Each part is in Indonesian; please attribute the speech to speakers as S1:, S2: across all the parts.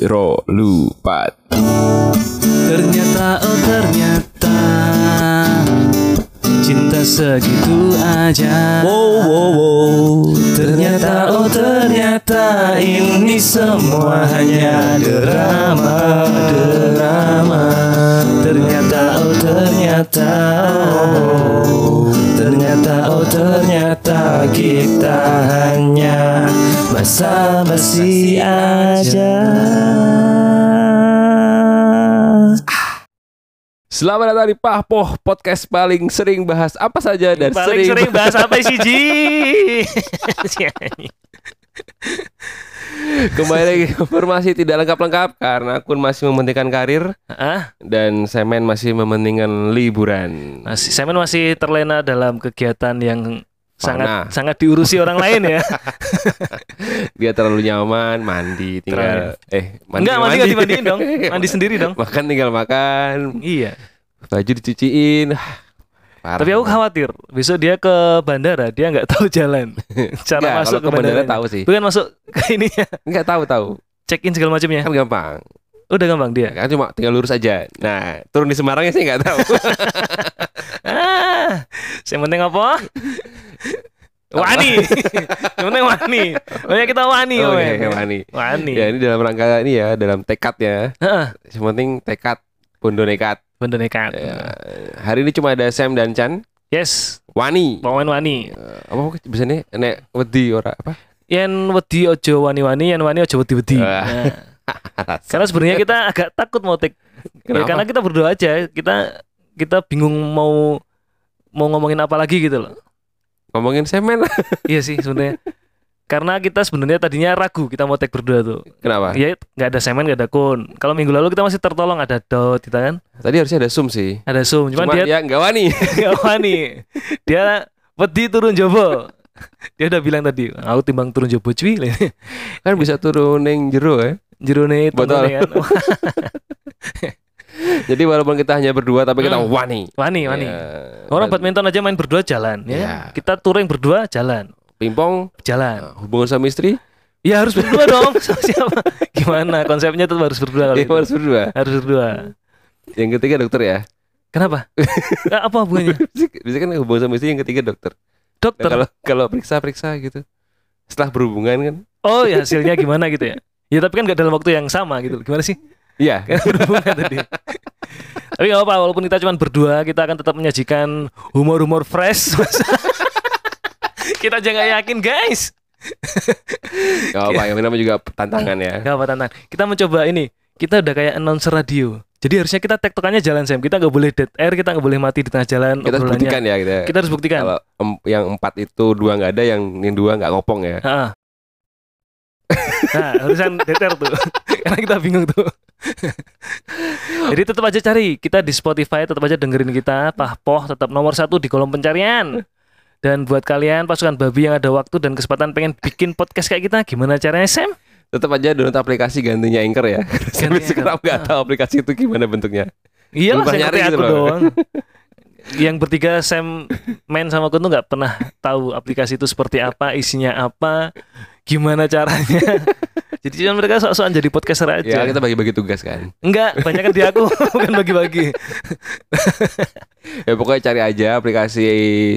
S1: Jiro lupa.
S2: Ternyata oh ternyata Cinta segitu aja Wow wow wow Ternyata oh ternyata Ini semua hanya drama Drama Ternyata oh ternyata oh, Ternyata oh ternyata Kita hanya Basa-basi aja
S1: Selamat datang di Pahpoh Podcast paling sering bahas apa saja dan
S3: Paling sering bahas apa sih Ji?
S1: Kembali lagi ke informasi tidak lengkap-lengkap Karena akun masih mementingkan karir
S3: Ah,
S1: Dan semen masih mementingkan liburan
S3: masih Simon masih terlena dalam kegiatan yang sangat
S1: Parah.
S3: sangat diurusi orang lain ya.
S1: Dia terlalu nyaman Mandi tinggal Eh
S3: Enggak, mandi enggak dimandiin dong. Mandi sendiri dong.
S1: Makan tinggal makan
S3: Iya.
S1: Baju dicuciin Parah.
S3: Tapi aku khawatir besok dia ke bandara dia nggak tahu jalan. Cara
S1: Enggak, kalau
S3: masuk ke
S1: ke bandara
S3: bandaranya.
S1: tahu sih.
S3: Bukan masuk ke ini
S1: Enggak tahu tahu
S3: check in segala macamnya.
S1: Kan gampang
S3: Udah gampang dia.
S1: Kan cuma tinggal lurus aja Nah turun di Semarangnya sih enggak tahu
S3: Ah, yang penting apa? Wani. yang penting wani. Pokoknya kita wani,
S1: Oke,
S3: weh.
S1: oke, Oh, iya, Wani.
S3: Wani.
S1: Ya ini dalam rangka ini ya Dalam tekad ya
S3: Heeh,
S1: Yang penting tekad Bondo nekat
S3: bener nekat.
S1: Ya, Hari ini cuma ada Sam dan Chan
S3: Yes,
S1: Wani
S3: Pawen wani.
S1: Eh, apa bisa nih nek wedi ora apa
S3: Yen wedi ojo wani-wani, yen wani ojo wedi-wedi.
S1: Ah.
S3: Nah, karena sebenarnya kita agak takut mau take. Ya,
S1: Kenapa?
S3: karena kita berdoa aja, kita kita bingung mau mau ngomongin apa lagi gitu loh.
S1: ngomongin semen
S3: iya sih sebenarnya. Karena kita sebenarnya tadinya ragu kita mau take berdua tuh.
S1: kenapa
S3: Ya nggak ada semen, nggak ada kun. Kalau minggu lalu kita masih tertolong ada dot kita kan,
S1: tadi harusnya ada sum sih
S3: ada zoom. Cuman
S1: cuma
S3: dia
S1: dia nggak wani
S3: nggak wani. Dia wedi turun jobo. Dia udah bilang tadi, aku timbang turun jobo cuy.
S1: kan bisa turun neng jero ya
S3: jerone itu
S1: Botol.
S3: kan. Wah,
S1: jadi walaupun kita hanya berdua tapi kita
S3: Hmm.
S1: wani
S3: Wani, wani.
S1: Ya,
S3: Orang
S1: dan
S3: badminton aja main berdua jalan ya.
S1: Ya.
S3: Kita touring berdua jalan,
S1: pingpong
S3: jalan.
S1: hubungan suami istri
S3: Ya harus berdua dong. Sama siapa? Gimana konsepnya tuh harus berdua kalau
S1: dia
S3: gitu.
S1: harus berdua
S3: Harus berdua.
S1: yang ketiga dokter ya
S3: Kenapa? Nggak, apa hubungannya?
S1: bisa kan hubungan suami istri yang ketiga dokter Nah,
S3: Dokter.
S1: kalau kalau periksa periksa gitu setelah berhubungan kan
S3: Oh, ya hasilnya gimana gitu ya. Ya tapi kan nggak dalam waktu yang sama gitu. Gimana sih?
S1: iya
S3: Kan berhubungan tadi. Tapi nggak apa-apa, walaupun kita cuma berdua, kita akan tetap menyajikan humor-humor fresh. kita aja nggak yakin, guys.
S1: nggak
S3: Iya.
S1: apa Oh, yang namanya juga tantangan ya
S3: Gak apa tantangan. Kita mencoba ini. Kita udah kayak announcer radio. Jadi harusnya kita tektokannya jalan Sam. Kita nggak boleh dead air, kita nggak boleh mati di tengah jalan.
S1: kita harus
S3: obrolannya.
S1: buktikan ya kita,
S3: Kita harus buktikan.
S1: kalau em- yang empat itu dua nggak ada yang yang dua nggak ngopong ya
S3: Ha-ha. nah, harusan dead air tuh. Karena kita bingung tuh. Jadi tetap aja cari. Kita di Spotify tetap aja dengerin kita. Pahpoh tetap nomor satu di kolom pencarian. Dan buat kalian pasukan babi yang ada waktu dan kesempatan pengen bikin podcast kayak kita, gimana caranya Sam?
S1: tetap aja download aplikasi gantinya Anchor ya. Sampai
S3: Anchor. Ah.
S1: sekarang nggak tahu aplikasi itu gimana bentuknya.
S3: Iya lah,
S1: Berubah
S3: saya ngerti
S1: nyari gitu
S3: aku
S1: loh.
S3: doang. Yang bertiga Sam main sama aku tuh nggak pernah tahu aplikasi itu seperti apa, isinya apa, gimana caranya. Jadi cuma mereka sok-sokan jadi podcaster aja.
S1: Ya kita bagi-bagi tugas kan.
S3: Enggak, banyak kan di aku, bukan bagi-bagi.
S1: Ya pokoknya cari aja aplikasi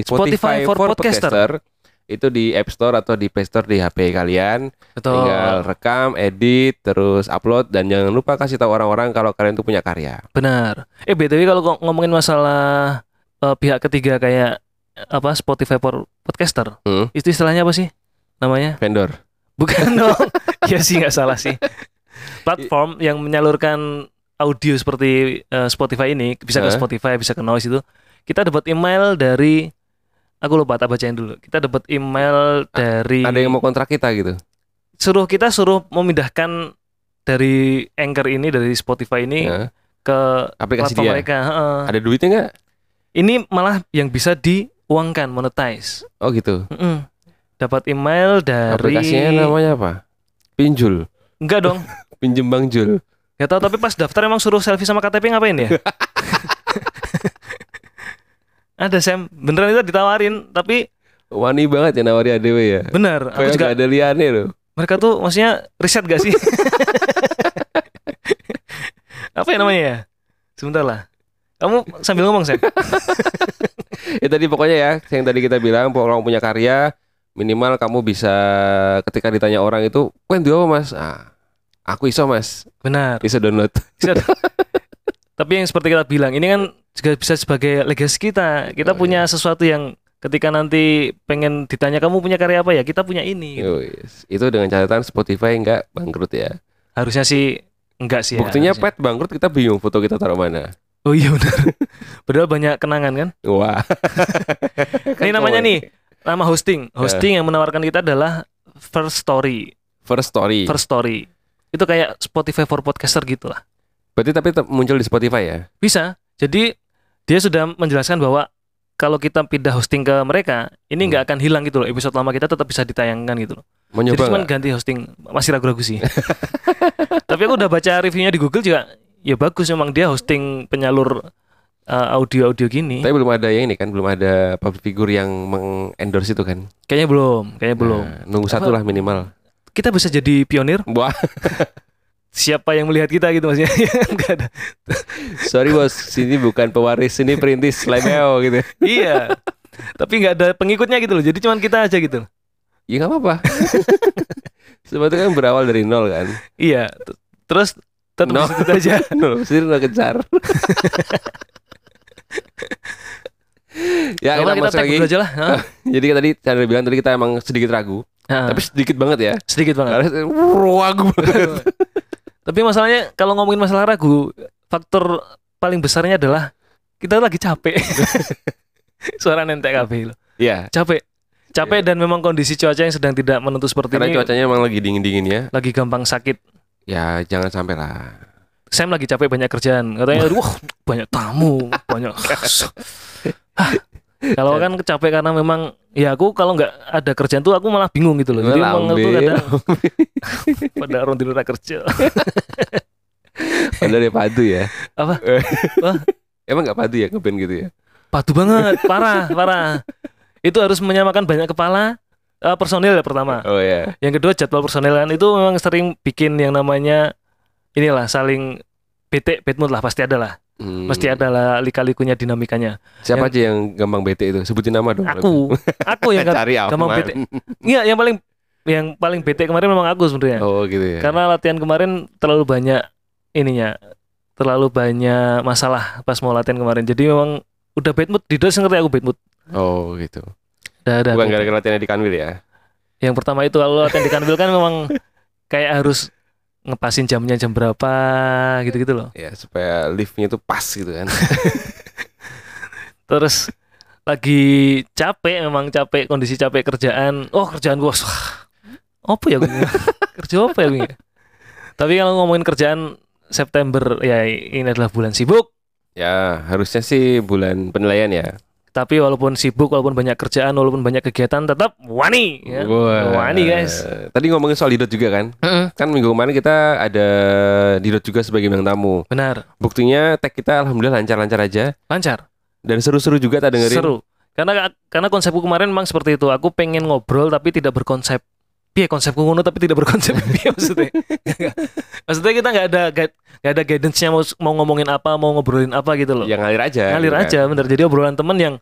S1: Spotify, for, podcaster. itu di App Store atau di Play Store di HP kalian.
S3: Iya.
S1: Tinggal rekam, edit, terus upload dan jangan lupa kasih tahu orang-orang kalau kalian tuh punya karya.
S3: Benar. Eh BTW kalau ngom- ngomongin masalah eh, pihak ketiga kayak eh, apa Spotify for podcaster,
S1: Hmm.
S3: itu istilahnya apa sih namanya?
S1: Vendor.
S3: Bukan dong. ya sih nggak salah sih. Platform yang menyalurkan audio seperti eh, Spotify ini bisa ke
S1: Hah?
S3: Spotify, bisa ke Noise itu. Kita dapat email dari aku lupa tak bacain dulu. Kita dapat email dari
S1: Ah, Ada yang mau kontrak kita gitu.
S3: suruh kita suruh memindahkan dari Anchor ini dari Spotify ini
S1: Ya.
S3: ke
S1: Aplikasi
S3: platform
S1: dia.
S3: mereka. Heeh.
S1: Ada duitnya nggak?
S3: Ini malah yang bisa diuangkan, monetize.
S1: Oh gitu.
S3: Mm-mm. Dapat email dari
S1: Aplikasinya namanya apa? Pinjul.
S3: Enggak dong.
S1: Pinjem Bang Jul.
S3: Gak tau tapi pas daftar emang suruh selfie sama KTP ngapain ya? Ada Sam, beneran itu ditawarin tapi
S1: Wani banget ya nawari ADW ya.
S3: Benar. Aku
S1: Kayak
S3: juga
S1: nggak ada liane loh.
S3: mereka tuh maksudnya riset gak sih? Apa ya namanya ya? Sebentar lah. Kamu sambil ngomong, Sam.
S1: Ya tadi pokoknya ya yang tadi kita bilang kalau kamu punya karya minimal kamu bisa ketika ditanya orang itu, "Kuen duo apa, Mas?" Ah, aku iso, Mas.
S3: Benar.
S1: Bisa download.
S3: Bisa- Tapi yang seperti kita bilang, ini kan juga bisa sebagai legacy kita. Kita
S1: Oh,
S3: punya sesuatu yang ketika nanti pengen ditanya kamu punya karya apa ya, kita punya
S1: Iya.
S3: ini. gitu.
S1: Yowis. Itu dengan catatan Spotify nggak bangkrut ya.
S3: Harusnya sih enggak sih. ya,
S1: Buktinya
S3: harusnya.
S1: pet bangkrut kita bingung foto kita taruh mana.
S3: Oh iya benar. Padahal banyak kenangan kan.
S1: Wah. Kan
S3: ini namanya
S1: kawan.
S3: nih, nama hosting.
S1: Ya.
S3: Hosting yang menawarkan kita adalah First Story.
S1: First Story.
S3: First Story. Itu kayak Spotify for podcaster gitu lah.
S1: Berarti tapi tetap muncul di Spotify ya.
S3: Bisa. Jadi dia sudah menjelaskan bahwa kalau kita pindah hosting ke mereka, ini
S1: Hmm.
S3: nggak akan hilang gitu loh. Episode lama kita tetap bisa ditayangkan gitu loh.
S1: Mau
S3: Jadi
S1: nyoba
S3: cuman
S1: nggak?
S3: ganti hosting. Masih ragu-ragu sih. Tapi aku udah baca reviewnya di Google juga. Ya bagus memang dia hosting penyalur uh, audio-audio gini.
S1: Tapi belum ada yang ini kan, belum ada public figure yang mengendorse itu kan.
S3: Kayaknya belum, kayaknya belum.
S1: Nah, nunggu satu
S3: Apa?
S1: lah minimal.
S3: Kita bisa jadi pionir.
S1: Wah,
S3: Siapa yang melihat kita gitu maksudnya? Nggak ada.
S1: sorry bos, sini bukan pewaris, sini perintis lemeo gitu.
S3: iya. Tapi nggak ada pengikutnya gitu loh. Jadi cuman kita aja gitu.
S1: Ya nggak apa-apa. Sebetulnya kan berawal dari nol kan.
S3: Iya. t- Terus tetap
S1: No.
S3: di situ aja.
S1: Nol, sini nol kejar. ya,
S3: Kalau
S1: kita
S3: kita
S1: masuk
S3: tag
S1: lagi.
S3: dulu aja lah. Hah?
S1: Jadi tadi Chandra bilang tadi kita emang sedikit ragu,
S3: Nah,
S1: tapi sedikit banget ya.
S3: sedikit
S1: Karena
S3: banget.
S1: Wuh, ragu banget.
S3: Tapi masalahnya kalau ngomongin masalah ragu, faktor paling besarnya adalah kita lagi capek. Suara nentek kabeh loh.
S1: Iya,
S3: Capek. Capek dan memang kondisi cuaca yang sedang tidak menentu seperti
S1: karena
S3: ini
S1: cuacanya emang lagi dingin-dingin ya.
S3: lagi gampang sakit.
S1: Ya, jangan sampai lah.
S3: Sam lagi capek banyak kerjaan. Katanya, wah banyak tamu, banyak. Hah. kalau kan capek karena memang ya aku kalau nggak ada kerjaan tuh aku malah bingung gitu loh. Jadi
S1: Lambe,
S3: emang aku kadang pada orang tidur nggak kerja.
S1: Padahal dia padu ya.
S3: Apa? Wah.
S1: Emang nggak padu ya ngeband gitu ya?
S3: Padu banget, parah, parah. Itu harus menyamakan banyak kepala eh, personil ya pertama.
S1: Oh ya.
S3: Yang kedua jadwal personil kan itu memang sering bikin yang namanya inilah saling bete, bad mood lah pasti ada lah.
S1: Hmm.
S3: Pasti ada lah lika-likunya dinamikanya.
S1: Siapa
S3: yang-
S1: aja yang gampang bete itu? Sebutin nama dong.
S3: Aku, aku yang
S1: cari aman.
S3: gampang bete. Iya, yang paling yang paling bete kemarin memang aku sebenarnya.
S1: Oh gitu ya.
S3: Nah. Karena latihan kemarin terlalu banyak ininya, terlalu banyak masalah pas mau latihan kemarin. Jadi memang udah bad mood, Dido sih ngerti aku bad mood.
S1: Oh gitu.
S3: Udah, udah,
S1: Bukan
S3: Nah, aku-
S1: gara-gara latihan di Kanwil ya.
S3: Yang pertama itu kalau latihan di Kanwil kan memang kayak harus ngepasin jamnya jam berapa gitu-gitu loh.
S1: Ya supaya liftnya itu pas gitu kan.
S3: Terus lagi capek memang capek kondisi capek kerjaan. Oh, kerjaan gua. wah, Apa ya gue? Kerja apa ya gue? Tapi kalau ngomongin kerjaan September ya ini adalah bulan sibuk.
S1: ya harusnya sih bulan penilaian ya.
S3: Tapi walaupun sibuk, walaupun banyak kerjaan, walaupun banyak kegiatan tetap wani ya.
S1: Wah.
S3: Wani guys.
S1: Tadi ngomongin soal Didot juga kan.
S3: Mm-mm.
S1: Kan minggu kemarin kita ada Didot juga sebagai bintang tamu.
S3: Benar.
S1: Buktinya tag kita alhamdulillah lancar-lancar aja
S3: Lancar.
S1: dan seru-seru juga tak dengerin.
S3: Seru. Karena karena konsepku kemarin memang seperti itu. Aku pengen ngobrol tapi tidak berkonsep. Piye konsepku ngono tapi tidak berkonsep. Piye maksudnya? maksudnya kita nggak ada guide, nggak ada guidance-nya mau mau ngomongin apa, mau ngobrolin apa gitu loh.
S1: Yang ngalir aja.
S3: Ngalir
S1: gitu kan.
S3: aja bener. Jadi obrolan temen yang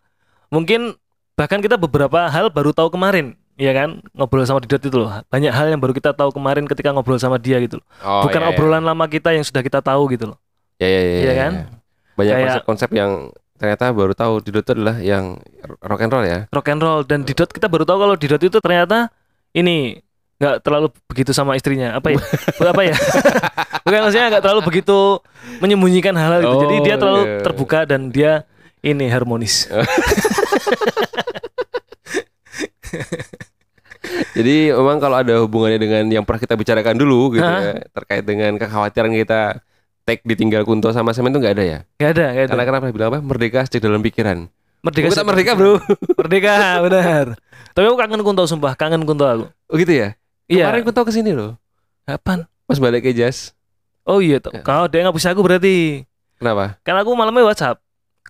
S3: mungkin bahkan kita beberapa hal baru tahu kemarin. Iya kan? Ngobrol sama Didot itu loh. Banyak hal yang baru kita tahu kemarin ketika ngobrol sama dia gitu loh.
S1: Oh,
S3: Bukan
S1: iya, iya.
S3: obrolan lama kita yang sudah kita tahu gitu loh.
S1: Ya, ya, ya,
S3: Iya
S1: ya,
S3: kan?
S1: ya. Banyak
S3: Kayak-
S1: konsep-konsep yang ternyata baru tahu di Dota adalah yang rock and roll ya.
S3: rock and roll dan Didot kita baru tahu kalau Didot itu ternyata ini nggak terlalu begitu sama istrinya apa ya apa ya bukan maksudnya nggak terlalu begitu menyembunyikan hal-hal gitu jadi
S1: Oh,
S3: dia terlalu
S1: iya.
S3: terbuka dan dia ini harmonis
S1: Jadi memang kalau ada hubungannya dengan yang pernah kita bicarakan dulu gitu ya,
S3: Hah?
S1: terkait dengan kekhawatiran kita tag ditinggal Kunto sama Semen itu nggak ada ya?
S3: nggak ada nggak ada
S1: Karena kenapa bilang apa? Merdeka sejak dalam pikiran.
S3: merdeka
S1: Kita
S3: sih.
S1: merdeka bro.
S3: merdeka benar tapi aku kangen kunto sumpah kangen kunto aku
S1: Oh gitu ya?
S3: iya
S1: Kemarin Kunto kesini loh.
S3: kapan
S1: Pas balik ke Jas.
S3: oh iya tuh.
S1: Ya.
S3: kau dia ngapus aku berarti
S1: Kenapa?
S3: karena aku malamnya
S1: Iya.
S3: WhatsApp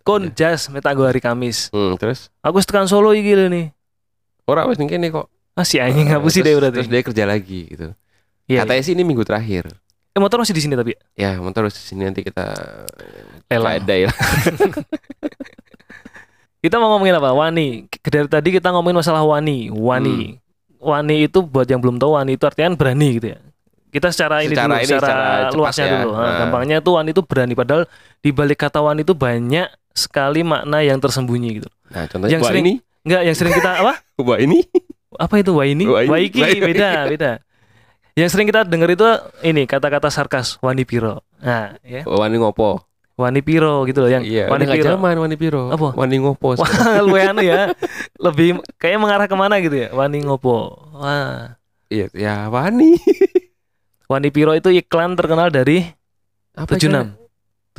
S3: kon jas minta gue hari Kamis
S1: Hmm, terus?
S3: aku tekan Solo iki lho nih
S1: Ora wis ngene kok. Eh,
S3: Ah si anjing ngapusi
S1: Oh, Terus-
S3: deh berarti.
S1: Terus dia kerja lagi gitu.
S3: Iya,
S1: Katanya sih ini minggu terakhir.
S3: iya. Eh, motor masih di sini tapi.
S1: Ya, motor di sini nanti kita
S3: Lelang.
S1: Dail.
S3: Kita mau ngomongin apa? Wani. K- Dari tadi kita ngomongin masalah wani,
S1: Hmm.
S3: wani. Wani itu buat yang belum tahu wani itu artinya berani gitu ya. Kita secara ini
S1: Secara
S3: dulu,
S1: ini,
S3: secara,
S1: secara cepat
S3: luasnya
S1: ya.
S3: dulu. Nah,
S1: Nah.
S3: Gampangnya itu wani itu berani padahal di balik kata wani itu banyak sekali makna yang tersembunyi gitu.
S1: Nah, contohnya
S3: Yang
S1: buah
S3: sering-
S1: ini,
S3: Enggak, yang sering kita apa?
S1: buah ini.
S3: Apa itu waini?
S1: Waini.
S3: Waiki,
S1: Waini.
S3: beda, beda. Yang sering kita dengar itu ini kata-kata sarkas wani piro. Nah, ya.
S1: Oh, Wani ngopo.
S3: Wani piro gitu loh yang
S1: Iya,
S3: wani
S1: wani nggak
S3: piro.
S1: zaman wani piro.
S3: Apa?
S1: Wani ngopo.
S3: Wah, lu anu ya. Lebih kayaknya mengarah kemana gitu ya? Wani ngopo. Wah.
S1: Iya, ya wani.
S3: Wani Piro itu iklan terkenal dari
S1: Apa
S3: 76.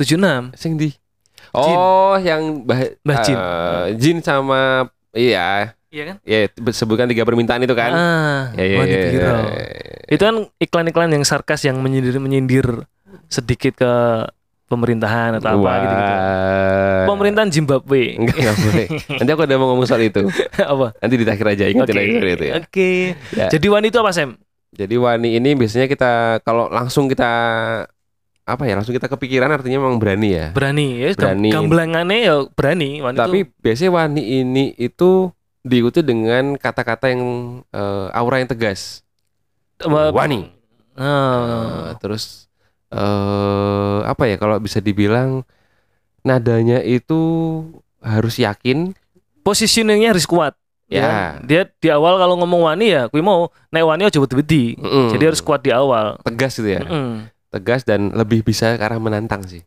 S3: 76.
S1: kan? Sing di. Oh, yang bah,
S3: Mbah Jin.
S1: eh, Jin sama iya,
S3: Iya kan?
S1: ya sebutkan tiga permintaan itu kan.
S3: Ah,
S1: Ya, ya,
S3: Wani
S1: ya, ya,
S3: Piro.
S1: ya.
S3: Itu kan iklan-iklan yang sarkas yang menyindir-menyindir sedikit ke pemerintahan atau apa
S1: Wah.
S3: gitu-gitu. Pemerintahan Zimbabwe.
S1: Enggak, enggak boleh. Nanti aku udah mau ngomong soal itu.
S3: apa?
S1: Nanti di akhir aja
S3: Oke.
S1: ingetin lagi soal itu ya.
S3: Oke.
S1: Ya.
S3: Jadi Wani itu apa, Sam?
S1: Jadi wani ini biasanya kita kalau langsung kita apa ya langsung kita kepikiran artinya memang berani ya.
S3: Berani ya. gam-
S1: Berani.
S3: Gamblangannya ya berani Wani
S1: Tapi
S3: itu.
S1: biasanya wani ini itu diikuti dengan kata-kata yang eh, aura yang tegas.
S3: apa-
S1: Wani. Eh,
S3: Ah.
S1: terus eh apa ya kalau bisa dibilang nadanya itu harus yakin.
S3: positioningnya harus kuat.
S1: Ya.
S3: kan? Dia di awal kalau ngomong wani ya, kui mau naik wani aja beti-beti.
S1: Mm-mm.
S3: Jadi harus kuat di awal.
S1: tegas gitu ya.
S3: Mm-mm.
S1: Tegas dan lebih bisa ke arah menantang sih.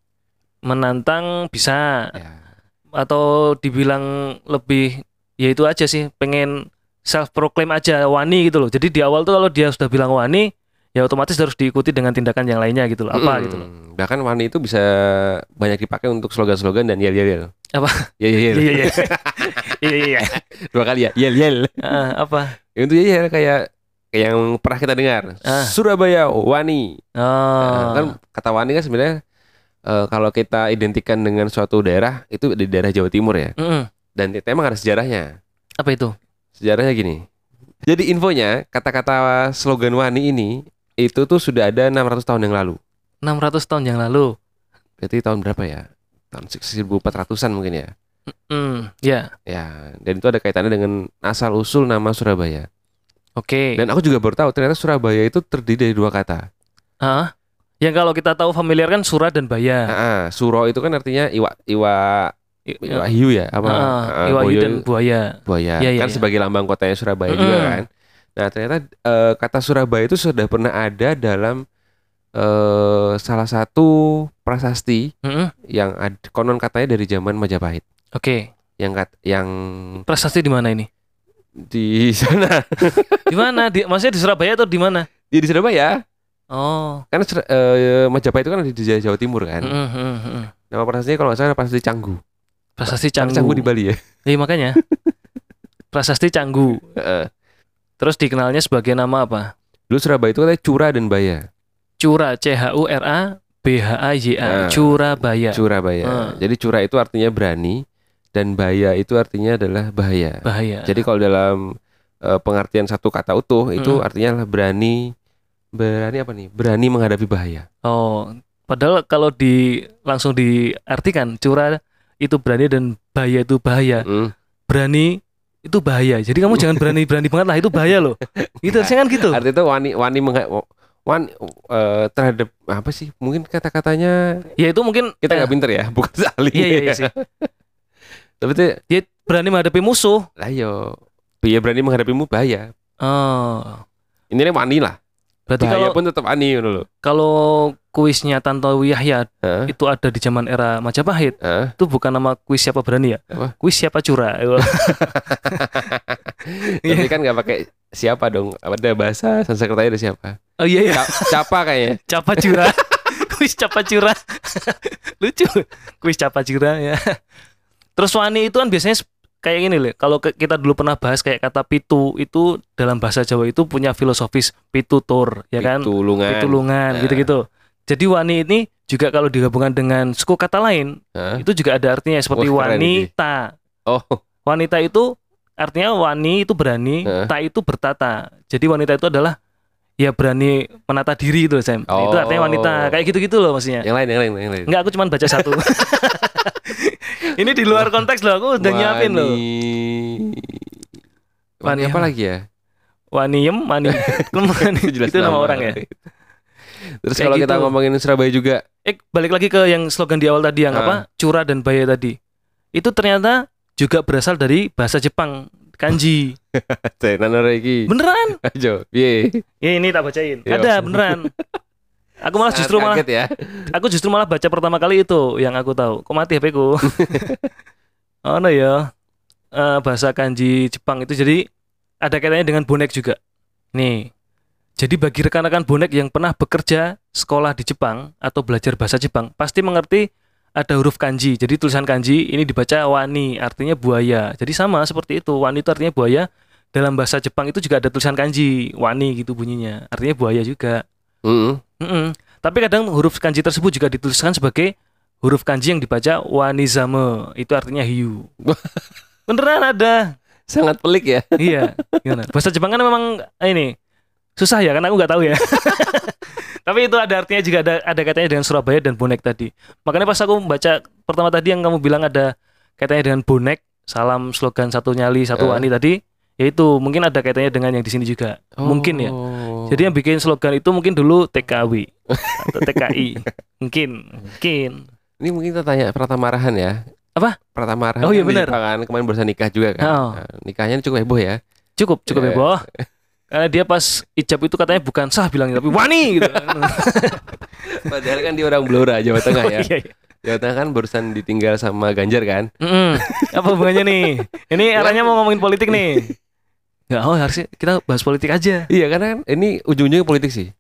S3: Menantang bisa
S1: Ya.
S3: atau dibilang lebih ya itu aja sih, pengen self proclaim aja wani gitu loh. Jadi di awal tuh kalau dia sudah bilang wani, ya otomatis harus diikuti dengan tindakan yang lainnya gitu loh. Apa
S1: Mm-mm.
S3: gitu loh.
S1: Bahkan wani itu bisa banyak dipakai untuk slogan-slogan dan yel-yel.
S3: Apa?
S1: Yel-yel.
S3: Iya iya. Iya iya. iya.
S1: dua kali ya yel yel
S3: Ah, apa?
S1: itu yel kayak kayak yang pernah kita dengar
S3: Ah.
S1: Surabaya Wani Nah,
S3: Oh.
S1: kan kata Wani kan sebenarnya eh, kalau kita identikan dengan suatu daerah itu di daerah Jawa Timur ya
S3: Mm-mm.
S1: dan itu emang ada sejarahnya
S3: Apa itu?
S1: sejarahnya gini jadi infonya kata-kata slogan Wani ini itu tuh sudah ada 600 tahun yang lalu
S3: 600 tahun yang lalu.
S1: berarti tahun berapa ya tahun 1400-an mungkin ya
S3: Mm, ya.
S1: ya dan itu ada kaitannya dengan asal usul nama Surabaya
S3: Oke.
S1: dan aku juga baru tahu ternyata Surabaya itu terdiri dari dua kata
S3: Ah, yang kalau kita tahu familiar kan Sura dan Baya.
S1: Ah, suro itu kan artinya iwa iwa
S3: I-
S1: iwa hiu ya apa?
S3: Ah,
S1: Ah,
S3: Iwayu
S1: boyo
S3: dan buaya.
S1: buaya.
S3: Iya, iya,
S1: kan
S3: iya.
S1: sebagai lambang kotanya Surabaya juga
S3: Mm-mm.
S1: kan. Nah, ternyata eh, kata Surabaya itu sudah pernah ada dalam eh, salah satu prasasti
S3: Mm-mm.
S1: yang ad- konon katanya dari zaman Majapahit.
S3: Oke.
S1: Yang kat- yang
S3: Prestasi di mana ini?
S1: di sana.
S3: Di mana? Di, maksudnya di Surabaya atau di mana?
S1: Ya, di Surabaya.
S3: Oh.
S1: Karena Sur- eh, Majapahit itu kan ada di Jawa Jawa Timur kan.
S3: Mm-mm, mm-mm, mm-mm.
S1: Nama prasastinya kalau nggak salah prasasti Canggu.
S3: Prasasti
S1: Tapi
S3: Canggu.
S1: Canggu di Bali ya.
S3: Iya, makanya. Prasasti Canggu.
S1: Heeh.
S3: Terus dikenalnya sebagai nama apa?
S1: Eh, Dulu Surabaya itu katanya Cura dan Baya.
S3: Cura C H U R A B H A Y A.
S1: Ah.
S3: Curabaya.
S1: Curabaya.
S3: Ah.
S1: Jadi cura itu artinya berani dan baya itu artinya adalah bahaya.
S3: Bahaya.
S1: Jadi kalau dalam eh, pengertian satu kata utuh itu
S3: Mm-mm.
S1: artinya adalah berani berani apa nih? Berani menghadapi bahaya.
S3: Oh, padahal kalau di langsung diartikan cura itu berani dan bahaya itu bahaya.
S1: Mm.
S3: Berani itu bahaya. Jadi kamu jangan berani-berani banget lah itu bahaya loh. Gitu, saya kan gitu.
S1: Artinya itu wani wani mengha- wan eh, terhadap apa sih? Mungkin kata-katanya
S3: Ya itu mungkin
S1: kita
S3: eh,
S1: nggak pinter ya, bukan ahli.
S3: Iya iya iya sih.
S1: Tapi itu
S3: Dia berani menghadapi musuh.
S1: lah yo ya berani menghadapimu bahaya.
S3: Oh.
S1: Ini nih wani lah.
S3: Berarti
S1: Bahaya
S3: kalau
S1: pun tetap wani gitu loh.
S3: kalau kuisnya Tantowi Yahya
S1: Heeh.
S3: itu ada di zaman era Majapahit.
S1: Heeh.
S3: Itu bukan nama kuis siapa berani ya?
S1: Apa?
S3: Kuis siapa cura.
S1: Tapi
S3: Iya.
S1: kan nggak pakai siapa dong? Ada bahasa Sanskertanya ada siapa?
S3: oh iya iya,
S1: Cap, capa kayaknya.
S3: capa cura. kuis capa cura. Lucu. Kuis capa cura ya. Terus wani itu kan biasanya sep- kayak gini loh. Kalau ke- kita dulu pernah bahas kayak kata pitu itu dalam bahasa Jawa itu punya filosofis pitutur ya kan?
S1: Pitulungan.
S3: pitulungan
S1: Nah.
S3: gitu-gitu. Jadi wani ini juga kalau digabungkan dengan suku kata lain
S1: Hah?
S3: itu juga ada artinya seperti
S1: Wah, keren ini.
S3: wanita.
S1: Oh,
S3: Wanita itu Artinya wani itu berani,
S1: Heeh.
S3: ta itu bertata. Jadi wanita itu adalah ya berani menata diri itu loh, Sam. Itu artinya
S1: Oh.
S3: wanita. Kayak gitu-gitu loh maksudnya.
S1: Yang lain, yang lain, yang lain.
S3: Enggak, aku cuma baca satu. Ini di luar konteks loh, aku udah nyiapin loh.
S1: Wani-
S3: Wani
S1: Wani apa
S3: apa?
S1: lagi ya?
S3: Waniem, wani.
S1: Itu jelas
S3: itu nama
S1: nama.
S3: orang ya.
S1: Terus
S3: Kayak
S1: kalau kita
S3: gitu.
S1: ngomongin Surabaya juga,
S3: Eh, balik lagi ke yang slogan di awal tadi yang
S1: Ah.
S3: apa? Cura dan baya tadi. Itu ternyata juga berasal dari bahasa Jepang, kanji.
S1: tenan ora iki.
S3: Beneran?
S1: Ajo. Piye?
S3: Ya ini tak bacain.
S1: Iya.
S3: Ada beneran. Aku malah
S1: Sangat
S3: Ah, justru malah
S1: kaget ya.
S3: aku justru malah baca pertama kali itu yang aku tahu. Kok mati HP ku? oh no ya. Eh, bahasa kanji Jepang itu jadi ada kaitannya dengan bonek juga. Nih. Jadi bagi rekan-rekan bonek yang pernah bekerja sekolah di Jepang atau belajar bahasa Jepang pasti mengerti ada huruf kanji. Jadi tulisan kanji ini dibaca wani artinya buaya. Jadi sama seperti itu. Wani itu artinya buaya. Dalam bahasa Jepang itu juga ada tulisan kanji wani gitu bunyinya. Artinya buaya juga.
S1: Heeh.
S3: Mm-mm. Tapi kadang huruf kanji tersebut juga dituliskan sebagai huruf kanji yang dibaca wanizame. Itu artinya hiu. Beneran ada.
S1: Sangat pelik ya.
S3: iya. Gimana? Bahasa Jepang kan memang eh, ini susah ya karena aku nggak tahu ya. Tapi itu ada artinya juga ada ada kaitannya dengan Surabaya dan bonek tadi. Makanya pas aku membaca pertama tadi yang kamu bilang ada kaitannya dengan bonek, salam slogan satu nyali
S1: Eh.
S3: satu wani tadi, yaitu mungkin ada kaitannya dengan yang di sini juga. Mungkin ya.
S1: Oh.
S3: Jadi yang bikin slogan itu mungkin dulu TKW atau TKI. mungkin, mungkin.
S1: ini mungkin kita tanya Pratama Arhan ya.
S3: Apa?
S1: Pratama Arhan
S3: Oh,
S1: kan
S3: iya
S1: di
S3: benar.
S1: Jepang kan kemarin barusan nikah juga kan.
S3: Oh.
S1: Nah, nikahnya cukup heboh ya.
S3: Cukup, cukup
S1: Iya.
S3: ya, Boh. Karena dia pas ijab itu katanya bukan sah bilangnya tapi wani gitu.
S1: Padahal kan dia orang Blora Jawa Tengah ya.
S3: Iya, iya.
S1: Jawa Tengah kan barusan ditinggal sama Ganjar kan.
S3: Mm-mm. Apa hubungannya nih? Ini arahnya mau ngomongin politik nih. Enggak, Iya. oh harusnya kita bahas politik aja.
S1: Iya karena kan ini ujung-ujungnya politik sih.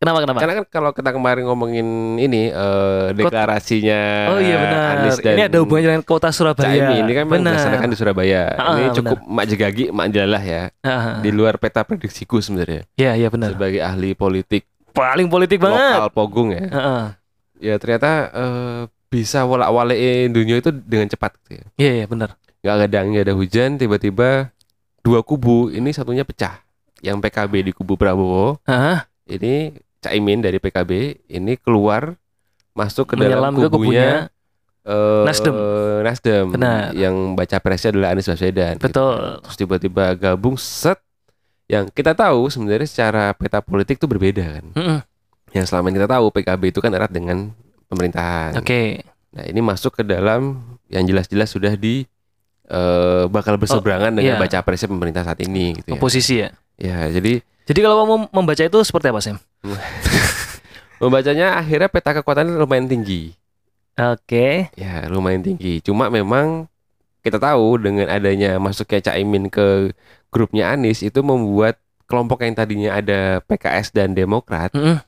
S3: Kenapa kenapa?
S1: Karena kan kalau kita kemarin ngomongin ini eh, deklarasinya
S3: Oh iya benar.
S1: Anies dan
S3: Ini ada hubungannya dengan kota Surabaya.
S1: Caimin. Ini kan memang
S3: benar.
S1: dilaksanakan di Surabaya.
S3: Ah,
S1: ini
S3: benar.
S1: cukup mak jegagi, mak jelalah ya.
S3: Ah,
S1: Di luar peta prediksiku sebenarnya.
S3: Iya, iya benar.
S1: Sebagai ahli politik
S3: Paling politik banget. Ah,
S1: lokal Pogung ya.
S3: Heeh.
S1: Ya ternyata eh, bisa wolak-walik dunia itu dengan cepat gitu ya.
S3: Iya, iya benar.
S1: Gak ada angin, nggak ada hujan, tiba-tiba dua kubu ini satunya pecah. Yang PKB di kubu Prabowo,
S3: Heeh.
S1: ini Caimin dari PKB, ini keluar masuk ke dalam
S3: Menyelam ke kubunya
S1: kubunya, eh,
S3: Nasdem.
S1: Nasdem.
S3: Benar.
S1: Yang baca presnya adalah Anies Baswedan. gitu.
S3: Betul.
S1: Terus tiba-tiba gabung set yang kita tahu sebenarnya secara peta politik itu berbeda kan.
S3: Mm-mm.
S1: Yang selama ini kita tahu PKB itu kan erat dengan pemerintahan.
S3: Oke.
S1: Nah, ini masuk ke dalam yang jelas-jelas sudah di eh, bakal berseberangan dengan
S3: iya.
S1: baca presnya pemerintah saat ini gitu ya.
S3: Oposisi ya.
S1: Ya, jadi
S3: Jadi kalau kamu membaca itu seperti apa, Sam?
S1: membacanya akhirnya peta kekuatannya lumayan tinggi.
S3: Oke.
S1: Ya, lumayan tinggi. Cuma memang kita tahu dengan adanya masuknya Caimin ke grupnya Anies itu membuat kelompok yang tadinya ada PKS dan Demokrat
S3: Mm-mm.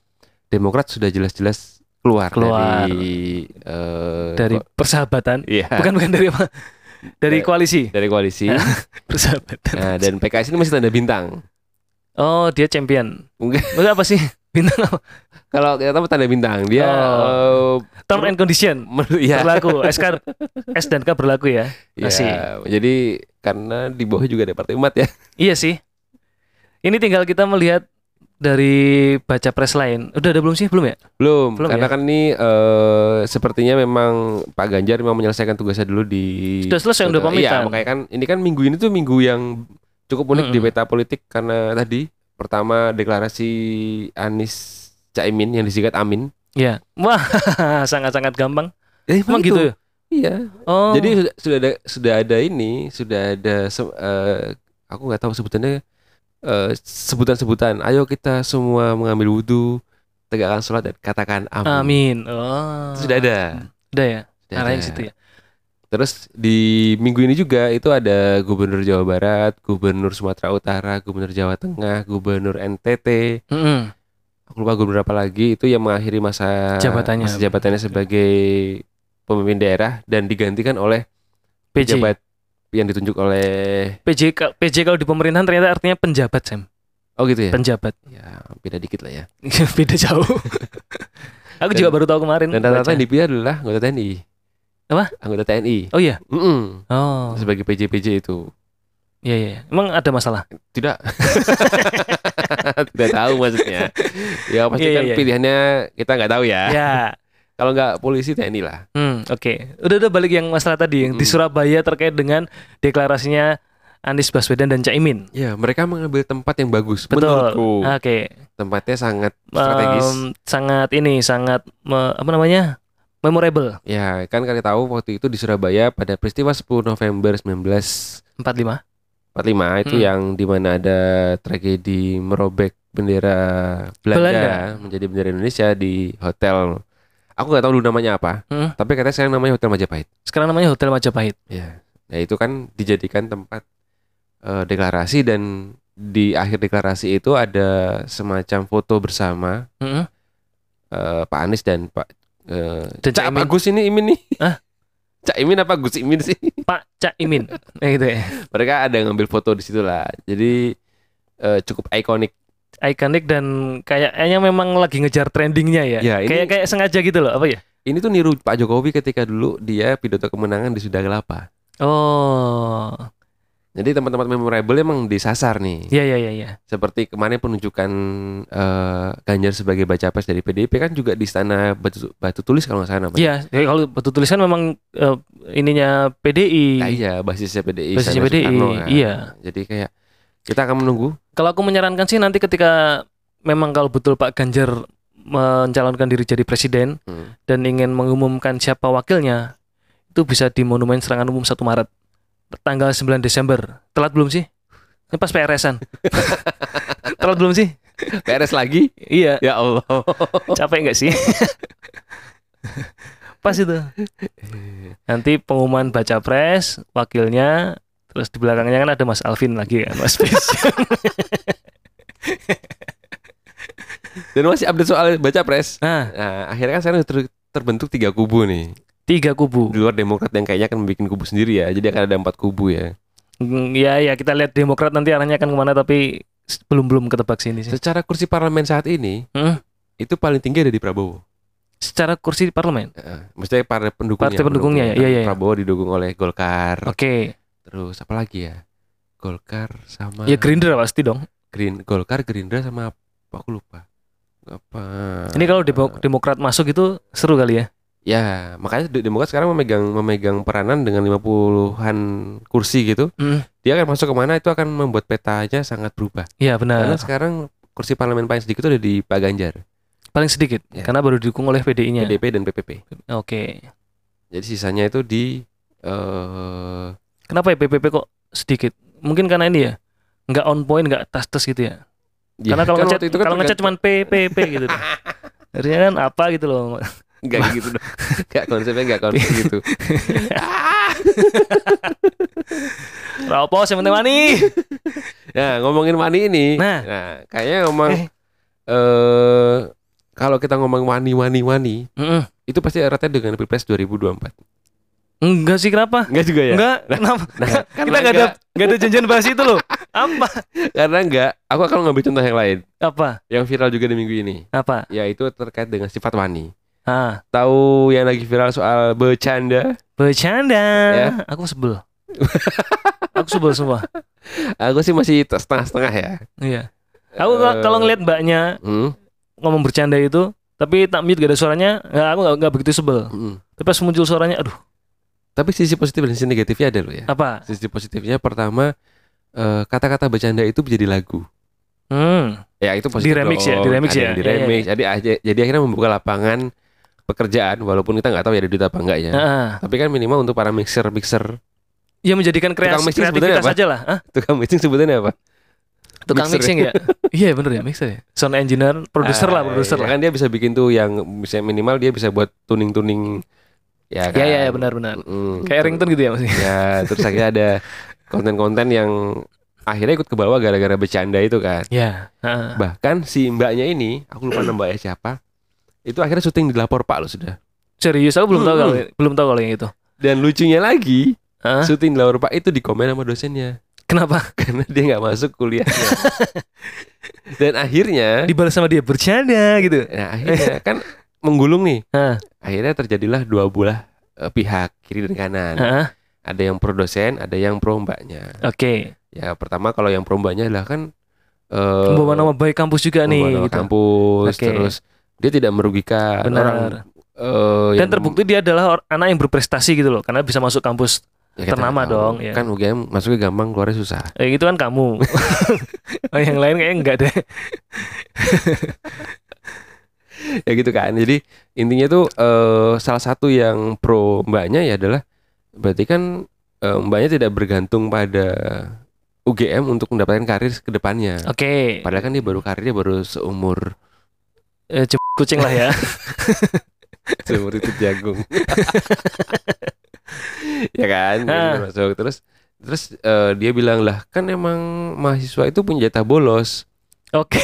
S1: Demokrat sudah jelas-jelas keluar,
S3: Keluar.
S1: dari eh,
S3: Dari
S1: ko-
S3: persahabatan.
S1: iya,
S3: Bukan bukan dari apa? Dari
S1: Dari-
S3: koalisi
S1: dari koalisi.
S3: persahabatan.
S1: nah, dan PKS ini masih tanda bintang.
S3: Oh, dia champion.
S1: Mungkin
S3: Maksudnya apa sih? Bintang apa?
S1: kalau kita tahu tanda bintang dia
S3: Oh.
S1: eh,
S3: Term and condition.
S1: men- ya,
S3: Berlaku. SK S dan K berlaku ya.
S1: ya.
S3: Masih.
S1: Jadi karena di bawah juga ada partai umat ya.
S3: Iya sih. Ini tinggal kita melihat dari baca pres lain. Udah ada belum sih? Belum ya?
S1: Belum,
S3: Belum
S1: karena
S3: ya?
S1: kan ini eh, sepertinya memang Pak Ganjar memang menyelesaikan tugasnya dulu di
S3: Sudah selesai, udah
S1: Iya,
S3: pamitan.
S1: makanya kan ini kan minggu ini tuh minggu yang cukup unik di
S3: Mm-mm.
S1: peta politik karena tadi pertama deklarasi Anies Caimin yang disingkat Amin.
S3: Iya. Wah, sangat-sangat gampang.
S1: Eh,
S3: Emang gitu ya?
S1: Iya.
S3: Oh.
S1: Jadi sudah, sudah ada sudah ada ini, sudah ada se- eh, aku nggak tahu sebutannya eh, sebutan-sebutan. Ayo kita semua mengambil wudhu, tegakkan sholat dan katakan amin.
S3: amin. Oh.
S1: Sudah ada.
S3: Udah ya.
S1: Sudah
S3: Arahnya
S1: ada.
S3: ke situ ya.
S1: Terus di minggu ini juga itu ada Gubernur Jawa Barat, Gubernur Sumatera Utara, Gubernur Jawa Tengah, Gubernur NTT.
S3: Mm-mm.
S1: Aku lupa gubernur apa lagi itu yang mengakhiri masa
S3: Jabatannya.
S1: masa jabatannya sebagai pemimpin daerah dan digantikan oleh
S3: PJ.
S1: pejabat yang ditunjuk oleh
S3: PJ ka- PJ kalau di pemerintahan ternyata artinya penjabat, Sam.
S1: oh gitu ya.
S3: Penjabat.
S1: ya, beda dikit lah ya.
S3: Beda jauh. Aku
S1: Dan-
S3: juga baru tahu kemarin.
S1: Dan rata-rata
S3: baca.
S1: yang dipilih adalah anggota TNI.
S3: Apa?
S1: Anggota TNI.
S3: Oh iya.
S1: Mm-mm.
S3: Oh.
S1: Sebagai PJ-PJ itu.
S3: Iya iya. Emang ada masalah?
S1: Tidak. tidak tahu maksudnya. Ya pasti
S3: Iya,
S1: kan
S3: iya, iya.
S1: pilihannya kita nggak tahu ya.
S3: ya.
S1: Kalau nggak polisi TNI lah.
S3: Hmm, oke. Udah udah balik yang masalah tadi yang di
S1: Mm.
S3: Surabaya terkait dengan deklarasinya Anies Baswedan dan Caimin.
S1: Ya mereka mengambil tempat yang bagus
S3: Betul.
S1: menurutku.
S3: Oke.
S1: Tempatnya sangat
S3: Em,
S1: strategis.
S3: sangat ini sangat me- apa namanya? memorable.
S1: ya kan kalian tahu waktu itu di Surabaya pada peristiwa 10 November 1945
S3: 45.
S1: itu
S3: Hmm.
S1: yang dimana ada tragedi merobek bendera Belanda,
S3: Belanda.
S1: menjadi bendera Indonesia di hotel. Aku nggak tahu dulu namanya apa,
S3: Hmm.
S1: tapi katanya sekarang namanya Hotel Majapahit.
S3: Sekarang namanya Hotel Majapahit.
S1: Ya, ya itu kan dijadikan tempat eh, deklarasi dan di akhir deklarasi itu ada semacam foto bersama
S3: Mm-mm.
S1: eh, Pak Anies dan Pak eh,
S3: Dan
S1: Cak
S3: Caimin.
S1: Pak Gus ini Imin nih.
S3: Hah?
S1: Cak Imin apa Gus Imin sih?
S3: Pak Caimin. ya gitu ya.
S1: Mereka ada ngambil foto di situ lah. Jadi eh, cukup ikonik.
S3: Ikonik dan kayaknya memang lagi ngejar trendingnya ya.
S1: Ya, ini-
S3: Kayak kayak sengaja gitu loh, apa ya?
S1: Ini tuh niru Pak Jokowi ketika dulu dia pidato kemenangan di Sunda Kelapa.
S3: Oh.
S1: Jadi teman-teman memorable emang disasar nih.
S3: Iya iya iya iya.
S1: Seperti kemarin penunjukan eh, Ganjar sebagai baca pres dari PDIP kan juga di istana Batu, Batu Tulis kalau nggak salah namanya.
S3: Iya, ya, kalau batu tulisan memang eh, ininya PDI.
S1: Nah, iya, basisnya PDI.
S3: Basisnya
S1: istana
S3: PDI,
S1: Soekarno kan.
S3: iya.
S1: Jadi kayak kita akan menunggu.
S3: Kalau aku menyarankan sih nanti ketika memang kalau betul Pak Ganjar mencalonkan diri jadi presiden
S1: Hmm.
S3: dan ingin mengumumkan siapa wakilnya, itu bisa di Monumen Serangan Umum 1 Maret tanggal 9 Desember. Telat belum sih? Ini pas PRS-an. Telat belum sih?
S1: PRS lagi?
S3: Iya,
S1: Ya Allah.
S3: capek nggak sih? Pas itu. Nanti pengumuman baca pres, wakilnya, terus di belakangnya kan ada Mas Alvin lagi kan, Mas Pis.
S1: Dan masih update soal baca pres.
S3: Nah,
S1: Nah, akhirnya kan sekarang ter- terbentuk tiga kubu nih.
S3: tiga kubu.
S1: Di luar Demokrat yang kayaknya akan bikin kubu sendiri ya. Jadi akan ada empat kubu ya.
S3: Mm, Ya ya kita lihat Demokrat nanti arahnya akan kemana tapi s- belum belum ketebak sini sih.
S1: Secara kursi parlemen saat ini
S3: Heeh.
S1: itu paling tinggi ada di Prabowo.
S3: Secara kursi di parlemen.
S1: Heeh. maksudnya para pendukungnya.
S3: Partai pendukungnya ya, iya, iya, iya.
S1: Prabowo didukung oleh Golkar.
S3: Oke.
S1: Terus apa lagi ya? Golkar sama
S3: Ya Gerindra pasti dong.
S1: Green Golkar Gerindra sama apa aku lupa. Apa?
S3: Ini kalau Demo- Demokrat masuk itu seru kali ya.
S1: Ya, makanya De- Demokrat sekarang memegang memegang peranan dengan 50-an kursi gitu.
S3: Mm,
S1: Dia akan masuk kemana itu akan membuat petanya sangat berubah.
S3: Iya
S1: Karena
S3: benar.
S1: sekarang kursi parlemen paling sedikit itu ada di Pak Ganjar,
S3: Paling sedikit
S1: Ya.
S3: karena baru didukung oleh PDI-nya.
S1: PDP dan PPP.
S3: Oke.
S1: Jadi sisanya itu di eh
S3: Kenapa ya PPP kok sedikit? Mungkin karena ini ya. Nggak on point, nggak tas-tas gitu ya.
S1: ya,
S3: karena kalau
S1: kan
S3: ngechat
S1: waktu itu kan
S3: kalau ngechat
S1: tergantung-
S3: cuman PPP gitu. dong. Harusnya kan apa gitu loh.
S1: Nggak kayak gitu. dong. Nggak, konsepnya nggak konsep gitu.
S3: Rapopo yang penting mani.
S1: Nah, ngomongin Wani ini.
S3: Nah.
S1: kayaknya ngomong
S3: Eh.
S1: eh kalau kita ngomong Wani Wani Wani
S3: Mm-mm.
S1: itu pasti eratnya dengan Pilpres 2024.
S3: Enggak sih kenapa?
S1: Enggak juga ya?
S3: Enggak, Kan kenapa?
S1: karena
S3: kita nggak ada
S1: enggak.
S3: nggak ada janjian bahas itu loh. Apa?
S1: Karena enggak, aku akan ngambil contoh yang lain
S3: Apa?
S1: yang viral juga di minggu ini,
S3: Apa?
S1: yaitu terkait dengan sifat Wani.
S3: Ah,
S1: Tahu yang lagi viral soal bercanda?
S3: bercanda.
S1: Ya.
S3: Aku sebel. aku sebel semua.
S1: Aku sih masih te- setengah-setengah ya.
S3: Iya. Aku
S1: Eh,
S3: kalau ngeliat mbaknya
S1: hmm,
S3: ngomong bercanda itu, tapi tak mute gak ada suaranya, nggak aku nggak nggak begitu sebel.
S1: hmm.
S3: Tapi pas muncul suaranya, aduh,
S1: Tapi sisi positif dan sisi negatifnya ada loh ya.
S3: apa?
S1: Sisi positifnya pertama eh, kata-kata bercanda itu menjadi lagu.
S3: Hmm,
S1: Ya itu positif.
S3: Diremix ya,
S1: dong.
S3: diremix
S1: Ada
S3: ya.
S1: yang
S3: Iya, iya,
S1: Diremix. Jadi aja- jadi akhirnya membuka lapangan pekerjaan walaupun kita nggak tahu ya ada duit apa enggak ya.
S3: Heeh.
S1: Tapi kan minimal untuk para mixer-mixer,
S3: ya menjadikan kreasi
S1: Tukang mixing
S3: kreativitas
S1: sebetulnya apa?
S3: aja lah. Hah?
S1: tukang mixing sebutannya apa?
S3: Tukang
S1: Mixer.
S3: mixing ya? Iya bener ya, mixer ya. Sound engineer, produser lah,
S1: Ah, ya
S3: produser lah.
S1: Kan dia bisa bikin tuh yang misalnya minimal dia bisa buat tuning-tuning ya kan.
S3: Iya iya ya, benar-benar.
S1: Mm-mm.
S3: Kayak ringtone gitu ya maksudnya.
S1: Ya, terus akhirnya ada konten-konten yang akhirnya ikut ke bawah gara-gara bercanda itu kan.
S3: Iya. heeh.
S1: Bahkan si mbaknya ini, aku lupa nama mbaknya siapa, itu akhirnya syuting di lapor Pak lo sudah.
S3: Serius aku belum tahu
S1: Mm-mm.
S3: kalau belum tahu kalau yang itu.
S1: Dan lucunya lagi,
S3: Hmm. Hah?
S1: syuting di lapor Pak itu dikomen sama dosennya
S3: Kenapa?
S1: karena dia nggak masuk kuliahnya. Dan akhirnya,
S3: dibalas sama dia bercanda gitu.
S1: nah akhirnya kan menggulung nih.
S3: Hah.
S1: Akhirnya terjadilah dua belah eh, pihak kiri dan kanan.
S3: Heeh.
S1: Ada yang pro dosen, ada yang pro mbaknya.
S3: Oke.
S1: Ya pertama kalau yang prombanya adalah kan eh
S3: Oh. Membawa nama baik kampus juga
S1: membawa nama
S3: nih gitu.
S1: kampus
S3: Oke.
S1: terus dia tidak merugikan
S3: Benar.
S1: orang eh,
S3: Dan
S1: yang-
S3: terbukti dia adalah or- anak yang berprestasi gitu loh karena bisa masuk kampus.
S1: ya kita
S3: ternama
S1: nggak tahu.
S3: dong, ya.
S1: Kan UGM masuknya gampang keluarnya susah.
S3: Eh itu kan kamu. Oh, yang lain kayaknya enggak deh.
S1: ya gitu kan. Jadi intinya tuh eh, salah satu yang pro mbaknya ya adalah berarti kan eh, mbaknya tidak bergantung pada UGM untuk mendapatkan karir ke depannya.
S3: Oke.
S1: Padahal kan dia baru karirnya baru seumur
S3: Eh, cep- kucing lah ya.
S1: seumur itu jagung. ya kan, dia
S3: Hah.
S1: masuk terus terus eh, dia bilang lah kan emang mahasiswa itu punya jatah bolos.
S3: Oke.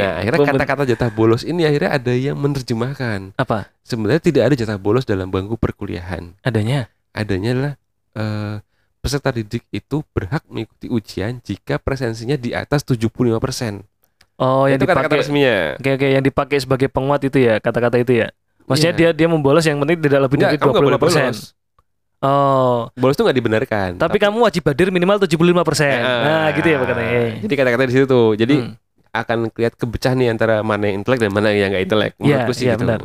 S1: Nah akhirnya
S3: Pemben-
S1: kata-kata jatah bolos ini akhirnya ada yang menerjemahkan.
S3: apa?
S1: Sebenarnya tidak ada jatah bolos dalam bangku perkuliahan.
S3: Adanya.
S1: Adanya adalah eh, peserta didik itu berhak mengikuti ujian jika presensinya di atas 75%.
S3: Oh, yang
S1: itu kata-kata
S3: dipakai
S1: resminya.
S3: Oke oke yang dipakai sebagai penguat itu ya kata-kata itu ya. Maksudnya
S1: Iya.
S3: dia dia membolos yang penting tidak lebih
S1: Enggak,
S3: dari
S1: kamu nggak boleh
S3: 25 persen.
S1: bolos.
S3: Oh,
S1: Bolos itu nggak dibenarkan. Ah.
S3: tapi, kamu wajib hadir minimal 75 persen. Nah, gitu ya makanya. Eh.
S1: Jadi kata-kata di situ tuh. Jadi
S3: Hmm.
S1: akan kelihatan kepecah nih antara mana yang intelek dan mana yang nggak intelek.
S3: Iya,
S1: Menurutku sih
S3: iya,
S1: gitu.
S3: benar.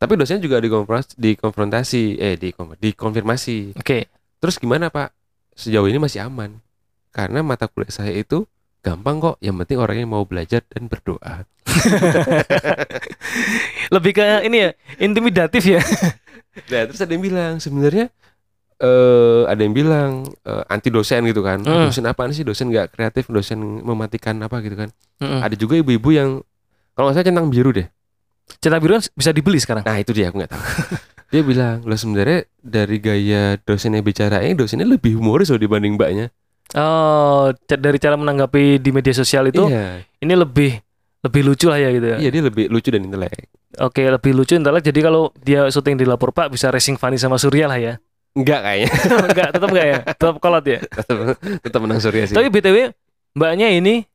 S1: Tapi dosennya juga dikonfrontasi, dikonfrontasi eh dikonfirmasi, dikonfirmasi.
S3: oke.
S1: Terus gimana Pak? Sejauh ini masih aman. Karena mata kuliah saya itu gampang kok. Yang penting orang yang mau belajar dan berdoa.
S3: Lebih ke ini ya, intimidatif ya.
S1: Nah, terus ada yang bilang sebenarnya eh ada yang bilang eh, anti dosen gitu kan.
S3: Hmm.
S1: Dosen apaan sih? Dosen nggak kreatif, dosen mematikan apa gitu kan.
S3: Mm-mm.
S1: Ada juga ibu-ibu yang kalau nggak salah centang biru deh.
S3: Cetak biru kan bisa dibeli sekarang.
S1: Nah itu dia aku nggak tahu. dia bilang lo sebenarnya dari gaya dosennya bicara ini dosennya lebih humoris loh dibanding mbaknya.
S3: Oh, ca- dari cara menanggapi di media sosial itu
S1: iya,
S3: ini lebih lebih lucu lah ya gitu ya.
S1: iya dia lebih lucu dan intelek.
S3: Oke, lebih lucu intelek. Jadi kalau dia syuting di Lapor Pak bisa racing Fani sama Surya lah ya.
S1: Enggak kayaknya.
S3: enggak, tetap enggak ya? Tetap kolot ya.
S1: tetap, tetap menang Surya sih.
S3: Tapi BTW mbaknya ini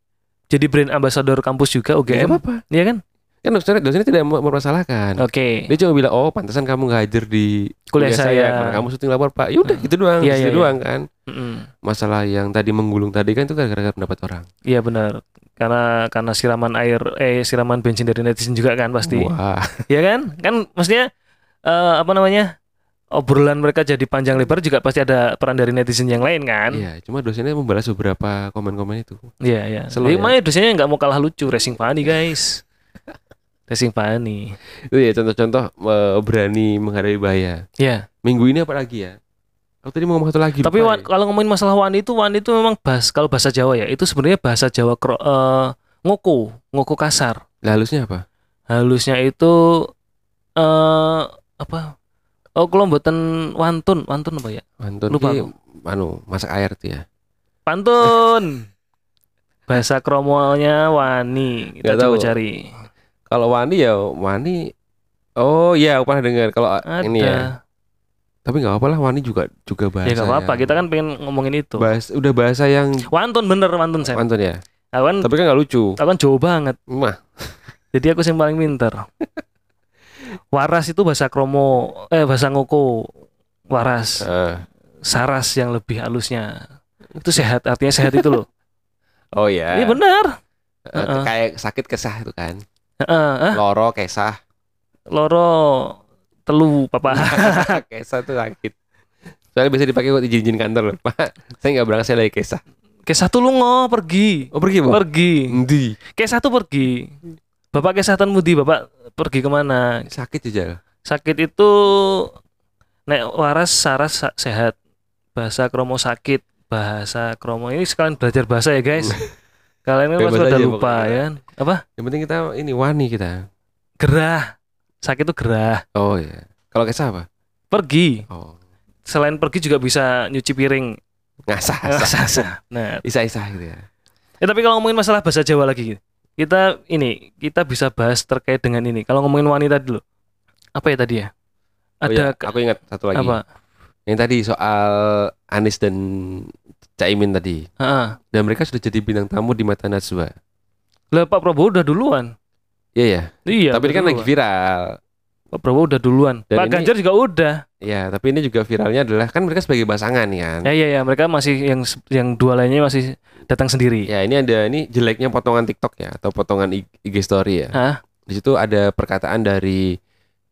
S3: jadi brand ambassador kampus juga
S1: Nggak
S3: UGM.
S1: apa-apa.
S3: Iya kan?
S1: Kan dosennya, dosennya tidak mem- mempermasalahkan.
S3: Oke.
S1: Nah, Dia cuma bilang, oh pantesan kamu nggak hadir di
S3: Kuliah saya.
S1: karena kamu syuting lapor pak. Yaudah gitu doang,
S3: Iya,
S1: gitu
S3: iya, iya.
S1: doang kan.
S3: Mm-mm.
S1: Masalah yang tadi menggulung tadi kan itu gara-gara pendapat orang.
S3: Iya benar. Karena karena siraman air eh siraman bensin dari netizen juga kan pasti.
S1: Wah,
S3: Iya kan? Kan maksudnya eh, apa namanya? Obrolan mereka jadi panjang lebar juga pasti ada peran dari netizen yang lain kan?
S1: iya. Cuma dosennya membalas beberapa komen-komen itu.
S3: Iya, iya.
S1: Slow ya.
S3: Jadi makanya dosennya nggak mau kalah lucu racing Fanny, guys. racing Fanny.
S1: Itu ya contoh-contoh eh, berani menghadapi bahaya.
S3: Iya.
S1: Minggu ini apa lagi ya? Aku tadi mau ngomong satu lagi.
S3: Tapi
S1: lupa
S3: wa-
S1: ya.
S3: kalau ngomongin masalah wani itu wani itu memang bahas kalau bahasa Jawa ya, itu sebenarnya bahasa Jawa kro, eh, ngoko, ngoko kasar.
S1: Lah, halusnya apa?
S3: Halusnya itu eh apa? Oh, kalau mboten wantun, wantun apa ya?
S1: Pantun
S3: Lupa
S1: ki, anu, masak air tuh ya.
S3: Pantun. bahasa kromonya wani. Kita
S1: Nggak
S3: coba
S1: tahu.
S3: cari.
S1: Kalau wani ya wani Oh iya, aku pernah dengar kalau
S3: Ada.
S1: ini ya. Tapi nggak apa-apa lah wani juga juga bahasa.
S3: ya nggak apa-apa,
S1: yang-
S3: kita kan pengen ngomongin itu.
S1: bahas udah bahasa yang
S3: Wantun bener wantun saya.
S1: pantun ya.
S3: Aku kan,
S1: Tapi kan nggak lucu.
S3: aku kan jauh banget.
S1: Mah,
S3: Jadi aku sih yang paling pinter. Waras itu bahasa kromo, eh bahasa ngoko. Waras,
S1: eh.
S3: saras yang lebih halusnya. Itu sehat, artinya sehat itu loh.
S1: Oh iya.
S3: Ini benar.
S1: Eh,
S3: Heeh.
S1: kayak sakit kesah itu kan.
S3: Heeh, ah,
S1: Loro kesah.
S3: loro telu papa.
S1: kesah tuh sakit. Soalnya bisa dipakai buat izin-izin kantor loh. Pak, saya nggak berangkat saya lagi kesah.
S3: Kayak satu lungo pergi.
S1: Oh pergi, Bu.
S3: Pergi.
S1: Endi?
S3: Kayak satu pergi. Bapak kesehatan mudi, Bapak pergi kemana?
S1: Sakit ya, aja.
S3: Sakit itu nek waras saras sa- sehat. Bahasa kromo sakit, bahasa kromo. Ini sekalian belajar bahasa ya, guys. Kalian kan
S1: Bebas
S3: pasti udah
S1: aja
S3: lupa
S1: pokoknya.
S3: ya. Apa?
S1: Yang penting kita ini wani kita.
S3: Gerah. Sakit itu gerah.
S1: Oh iya. Kalau kesah apa?
S3: Pergi.
S1: Oh.
S3: Selain pergi juga bisa nyuci piring.
S1: Ngasah.
S3: Sasa. Nah,
S1: Isa-isa gitu ya.
S3: eh, tapi kalau ngomongin masalah bahasa Jawa lagi, kita ini kita bisa bahas terkait dengan ini. Kalau ngomongin wanita dulu. Apa ya tadi ya?
S1: Oh
S3: Ada
S1: iya,
S3: ke-
S1: aku ingat satu lagi.
S3: apa?
S1: Yang tadi soal Anies dan Caimin tadi.
S3: Heeh.
S1: Dan mereka sudah jadi bintang tamu di mata Najwa.
S3: Lah Pak Prabowo udah duluan.
S1: Iya ya.
S3: Iya.
S1: Tapi
S3: udah
S1: ini kan lagi
S3: duluan.
S1: viral.
S3: Pak Prabowo udah duluan.
S1: Dan
S3: Pak
S1: ini-
S3: Ganjar juga udah.
S1: Ya, tapi ini juga viralnya adalah kan mereka sebagai pasangan kan.
S3: Ya ya ya, mereka masih yang se- yang dua lainnya masih datang sendiri.
S1: Ya, ini ada ini jeleknya potongan TikTok ya atau potongan I- IG story ya.
S3: Hah?
S1: Di situ ada perkataan dari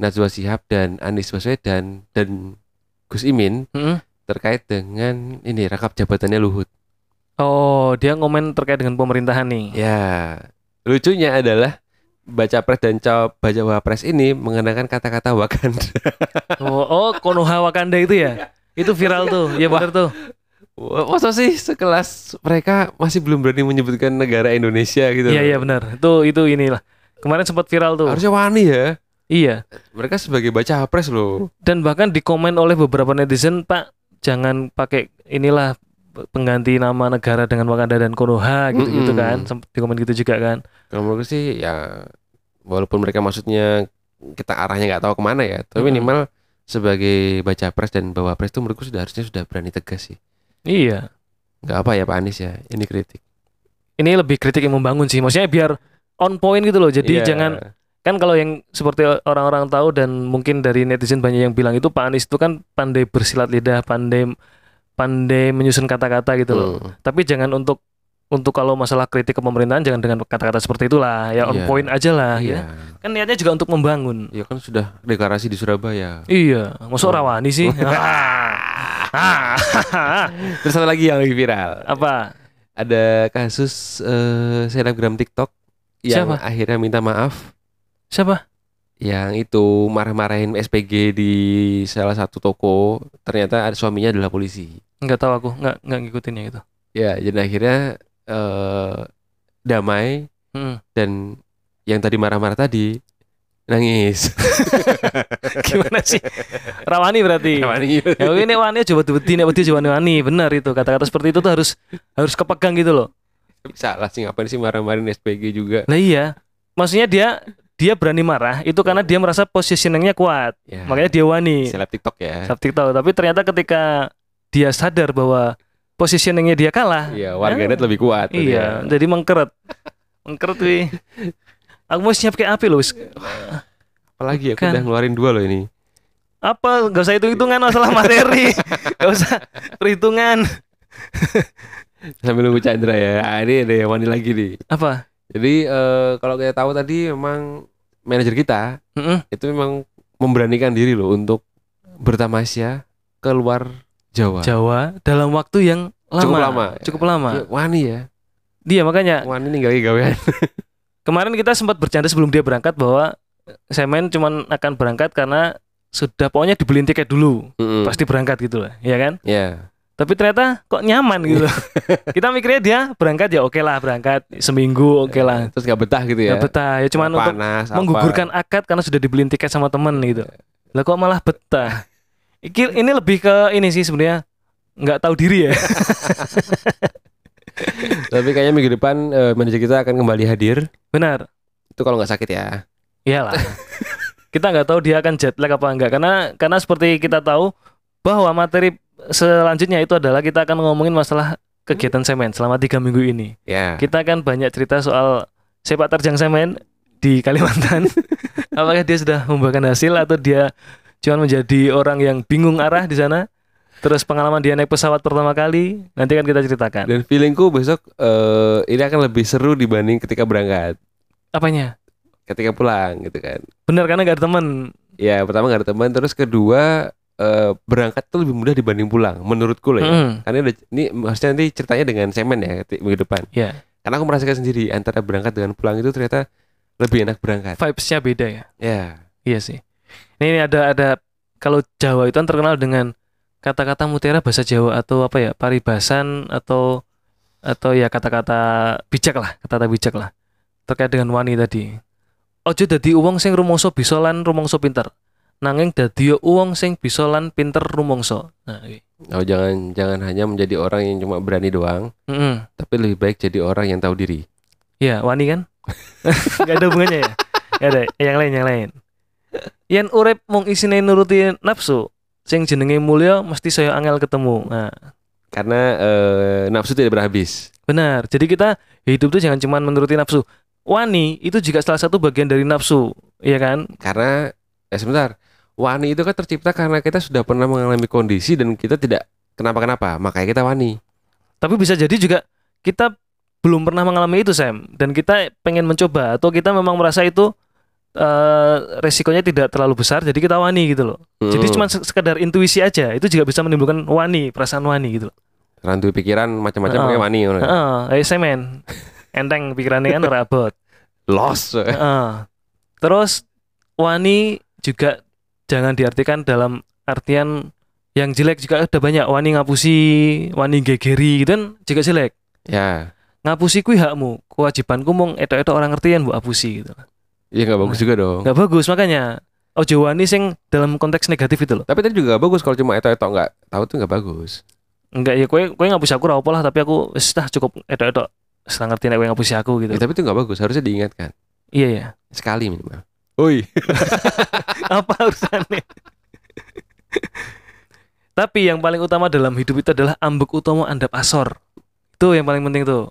S1: Najwa Shihab dan Anies Baswedan dan Gus Imin
S3: Mm-mm.
S1: terkait dengan ini rangkap jabatannya Luhut.
S3: Oh, dia ngomen terkait dengan pemerintahan nih.
S1: Ya, lucunya adalah baca pres dan cowok baca wapres ini mengenakan kata-kata Wakanda.
S3: Oh, oh Konoha Wakanda itu ya. Itu viral tuh. Ya benar tuh.
S1: Wah, Masa sih sekelas mereka masih belum berani menyebutkan negara Indonesia gitu.
S3: Iya iya benar. Itu itu inilah. Kemarin sempat viral tuh.
S1: Harusnya wani ya.
S3: Iya.
S1: Mereka sebagai baca wapres loh.
S3: Dan bahkan dikomen oleh beberapa netizen, "Pak, jangan pakai inilah pengganti nama negara dengan Wakanda dan Konoha gitu-gitu
S1: Mm-mm.
S3: kan." Sempat dikomen gitu juga kan.
S1: Kalau menurut sih ya walaupun mereka maksudnya kita arahnya nggak tahu kemana ya, tapi
S3: Mm-mm.
S1: minimal sebagai baca pres dan bawa pres itu menurutku sudah harusnya sudah berani tegas sih.
S3: Iya.
S1: Nggak apa ya Pak Anies ya, ini kritik.
S3: ini lebih kritik yang membangun sih. Maksudnya biar on point gitu loh. Jadi
S1: Iya.
S3: jangan kan kalau yang seperti orang-orang tahu dan mungkin dari netizen banyak yang bilang itu Pak Anies itu kan pandai bersilat lidah, pandai pandai menyusun kata-kata gitu loh.
S1: Hmm.
S3: Tapi jangan untuk untuk kalau masalah kritik ke pemerintahan jangan dengan kata-kata seperti itulah. Ya on
S1: Iya.
S3: point aja lah
S1: Iya.
S3: ya. Kan niatnya juga untuk membangun.
S1: Ya kan sudah deklarasi di Surabaya.
S3: Iya, masuk
S1: Oh.
S3: rawani sih. Ah.
S1: Terus satu lagi yang lagi viral.
S3: Apa?
S1: Ada kasus eh, selebgram TikTok yang
S3: Siapa?
S1: akhirnya minta maaf
S3: Siapa?
S1: yang itu marah-marahin SPG di salah satu toko ternyata ada suaminya adalah polisi
S3: Enggak tahu aku, enggak enggak ngikutin yang itu.
S1: ya jadi akhirnya eh, damai
S3: Hmm.
S1: dan yang tadi marah-marah tadi nangis
S3: Gimana sih? Rawani berarti. Ya oke nek wani coba dibeti nek wedi coba wani bener itu kata-kata seperti itu tuh harus harus kepegang gitu loh.
S1: salah sih ngapain sih marah-marahin SPG juga
S3: Nah iya. Maksudnya dia dia berani marah itu karena dia merasa positioningnya kuat.
S1: ya,
S3: Makanya dia wani.
S1: seleb TikTok ya
S3: Sub TikTok tapi ternyata ketika dia sadar bahwa positioningnya dia kalah.
S1: Iya,
S3: ya,
S1: warganet lebih kuat.
S3: Iya, jadi mengkeret. mengkeret wih. Aku mau siap kayak api loh. wis.
S1: Apalagi ya, aku
S3: Kan.
S1: udah ngeluarin dua loh ini.
S3: Apa gak usah hitung-hitungan masalah materi. gak usah perhitungan.
S1: Sambil nunggu Chandra ya. Ah, ini ada yang mandi lagi nih.
S3: Apa?
S1: Jadi eh, kalau kita tahu tadi memang manajer kita
S3: Mm-mm.
S1: itu memang memberanikan diri loh untuk bertamasya keluar Jawa.
S3: Jawa dalam waktu yang lama.
S1: Cukup lama.
S3: Cukup lama.
S1: Dia Wani ya.
S3: Dia Iya, makanya
S1: Wani ninggal gawean.
S3: kemarin kita sempat bercanda sebelum dia berangkat bahwa Semen cuman akan berangkat karena sudah pokoknya dibeliin tiket dulu
S1: Mm-mm.
S3: pasti berangkat gitu lah ya kan
S1: Ya.
S3: tapi ternyata kok nyaman gitu loh. kita mikirnya dia berangkat ya oke lah berangkat seminggu oke lah
S1: Terus gak betah gitu ya.
S3: Nggak betah ya cuman untuk
S1: Panas, apa.
S3: menggugurkan akad karena sudah dibeliin tiket sama temen gitu lah kok malah betah Iki- ini lebih ke ini sih sebenarnya nggak tahu diri ya
S1: Tapi kayaknya minggu depan eh, manajer kita akan kembali hadir.
S3: benar
S1: Itu kalau nggak sakit ya.
S3: Iyalah. kita nggak tahu dia akan jet lag apa enggak karena karena seperti kita tahu bahwa materi selanjutnya itu adalah kita akan ngomongin masalah kegiatan semen selama tiga minggu ini.
S1: Ya.
S3: Kita akan banyak cerita soal sepak terjang semen di Kalimantan. Apakah dia sudah membuahkan hasil atau dia cuma menjadi orang yang bingung arah di sana? Terus pengalaman dia naik pesawat pertama kali nanti kan kita ceritakan.
S1: Dan feelingku besok eh, ini akan lebih seru dibanding ketika berangkat.
S3: Apanya?
S1: ketika pulang gitu kan
S3: Benar karena nggak ada teman.
S1: ya pertama nggak ada teman terus kedua eh, berangkat tuh lebih mudah dibanding pulang menurutku loh ya
S3: Mm.
S1: karena udah, ini maksudnya nanti ceritanya dengan semen ya keti- minggu depan
S3: Iya.
S1: karena aku merasakan sendiri antara berangkat dengan pulang itu ternyata lebih enak berangkat
S3: Vibes-nya beda ya.
S1: ya
S3: Iya sih. Ini, ini ada ada kalau Jawa itu kan terkenal dengan kata-kata mutiara bahasa Jawa atau apa ya paribasan atau atau ya kata-kata bijak lah kata-kata bijak lah terkait dengan wani tadi. Ojo dadi uwong sing rumangsa bisa lan rumangsa pinter. Nanging dadi yo uwong sing bisa lan pinter rumangsa. Nah, iki.
S1: oh jangan jangan hanya menjadi orang yang cuma berani doang
S3: Mm-mm.
S1: tapi lebih baik jadi orang yang tahu diri
S3: Iya, wani kan? Gak ada hubungannya ya? Gak ada, yang lain, yang lain Yen urip mung isine nuruti nafsu Sing jenenge mulia mesti saya angel ketemu Nah,
S1: karena eh, nafsu tidak berhabis
S3: benar Jadi kita hidup tuh jangan cuman menuruti nafsu Wani itu juga salah satu bagian dari nafsu Iya kan?
S1: karena eh sebentar. Wani itu kan tercipta karena kita sudah pernah mengalami kondisi dan kita tidak kenapa-kenapa, makanya kita wani.
S3: Tapi bisa jadi juga kita belum pernah mengalami itu Sam dan kita pengen mencoba atau kita memang merasa itu uh, resikonya tidak terlalu besar jadi kita wani gitu loh.
S1: Hmm.
S3: Jadi cuma sekedar intuisi aja itu juga bisa menimbulkan wani, perasaan wani gitu loh.
S1: Rantui pikiran macam-macam
S3: Heeh.
S1: makanya wani ngono. kan?
S3: Heeh, ayo semen. Enteng pikirannya kan ora abot.
S1: Los.
S3: Heeh. Terus wani juga jangan diartikan dalam artian yang jelek juga ada banyak wani ngapusi, wani gegeri gitu kan juga jelek.
S1: ya,
S3: Ngapusi kuwi hakmu, kewajibanku mung etok-etok orang ngerti yang mbok apusi gitu.
S1: ya nggak bagus juga dong.
S3: Nggak bagus makanya. Ojo wani sing dalam konteks negatif itu loh.
S1: Tapi tadi juga nggak bagus kalau cuma etok-etok nggak tahu tuh nggak bagus.
S3: Enggak ya kowe kowe ngapusi aku ora apa lah tapi aku wis dah cukup etok-etok setengah ngerti nek kowe ngapusi aku gitu.
S1: Ya, tapi itu nggak bagus, harusnya diingatkan
S3: Iya ya.
S1: sekali minimal. Oi,
S3: apa urusannya tapi yang paling utama dalam hidup itu adalah ambek utama andap asor itu yang paling penting tuh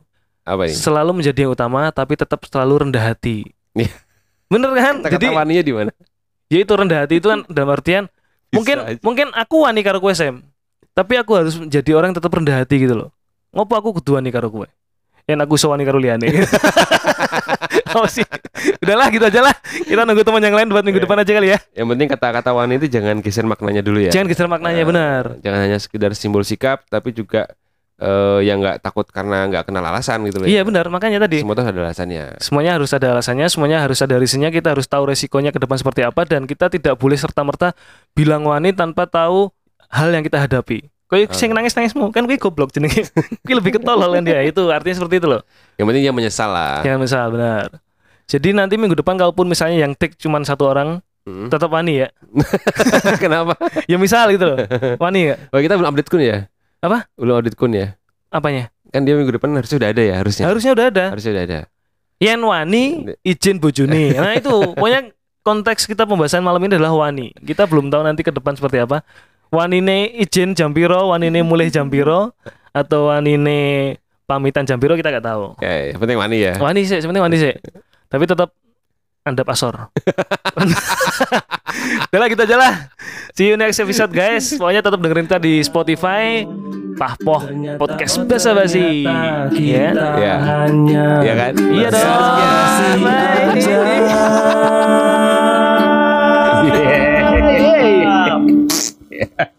S1: apa ini?
S3: selalu menjadi yang utama tapi tetap selalu rendah hati
S1: Iya.
S3: bener kan
S1: Kata-kata
S3: jadi
S1: waninya di mana?
S3: ya itu rendah hati itu kan dalam artian
S1: Bisa
S3: mungkin
S1: aja.
S3: mungkin aku wani karo kue Sam tapi aku harus menjadi orang yang tetap rendah hati gitu loh ngopo aku kudu wani karo kue yang aku sewani karo liane apa sih udahlah gitu aja lah kita nunggu teman yang lain buat minggu
S1: Iya.
S3: depan aja kali ya
S1: Yang penting kata-kata wani itu jangan geser maknanya dulu ya.
S3: jangan geser maknanya
S1: Eh,
S3: benar
S1: Jangan hanya sekedar simbol sikap, tapi juga eh, yang nggak takut karena nggak kenal alasan gitu loh. ya.
S3: Iya benar, makanya tadi
S1: Semua tuh ada alasannya.
S3: semuanya harus ada alasannya, semuanya harus ada risinya, kita harus tahu resikonya ke depan seperti apa dan kita tidak boleh serta-merta bilang wani tanpa tahu hal yang kita hadapi. Kayak sing nangis-nangismu kan kuwi goblok jenenge. Kuwi lebih ketolol kan dia. Itu artinya seperti itu loh.
S1: Yang penting dia menyesal lah.
S3: Ya misal benar. Jadi nanti minggu depan kalaupun misalnya yang take cuman satu orang
S1: Hmm.
S3: tetap wani ya.
S1: Kenapa?
S3: Ya misal gitu loh. Wani ya.
S1: Oh, kita belum update kun ya?
S3: Apa?
S1: Belum update kun ya?
S3: Apanya?
S1: Kan dia minggu depan harusnya udah ada ya harusnya.
S3: Harusnya udah ada.
S1: Harusnya udah ada.
S3: Yen wani izin bojone. Nah itu pokoknya konteks kita pembahasan malam ini adalah wani. Kita belum tahu nanti ke depan seperti apa. Wanine izin jam piro, wanine mulai jam piro atau wanine pamitan jam piro kita nggak tahu.
S1: Ya, yang penting wani ya.
S3: Wani sih, sebenarnya wani sih. Tapi tetap anda pasor. Udah lah kita aja lah. See you next episode guys. Pokoknya tetap dengerin kita di Spotify. Pahpoh podcast basa basi. Ya.
S1: Ya.
S2: hanya
S1: Iya kan?
S3: Iya dong. Bye.
S1: Iya.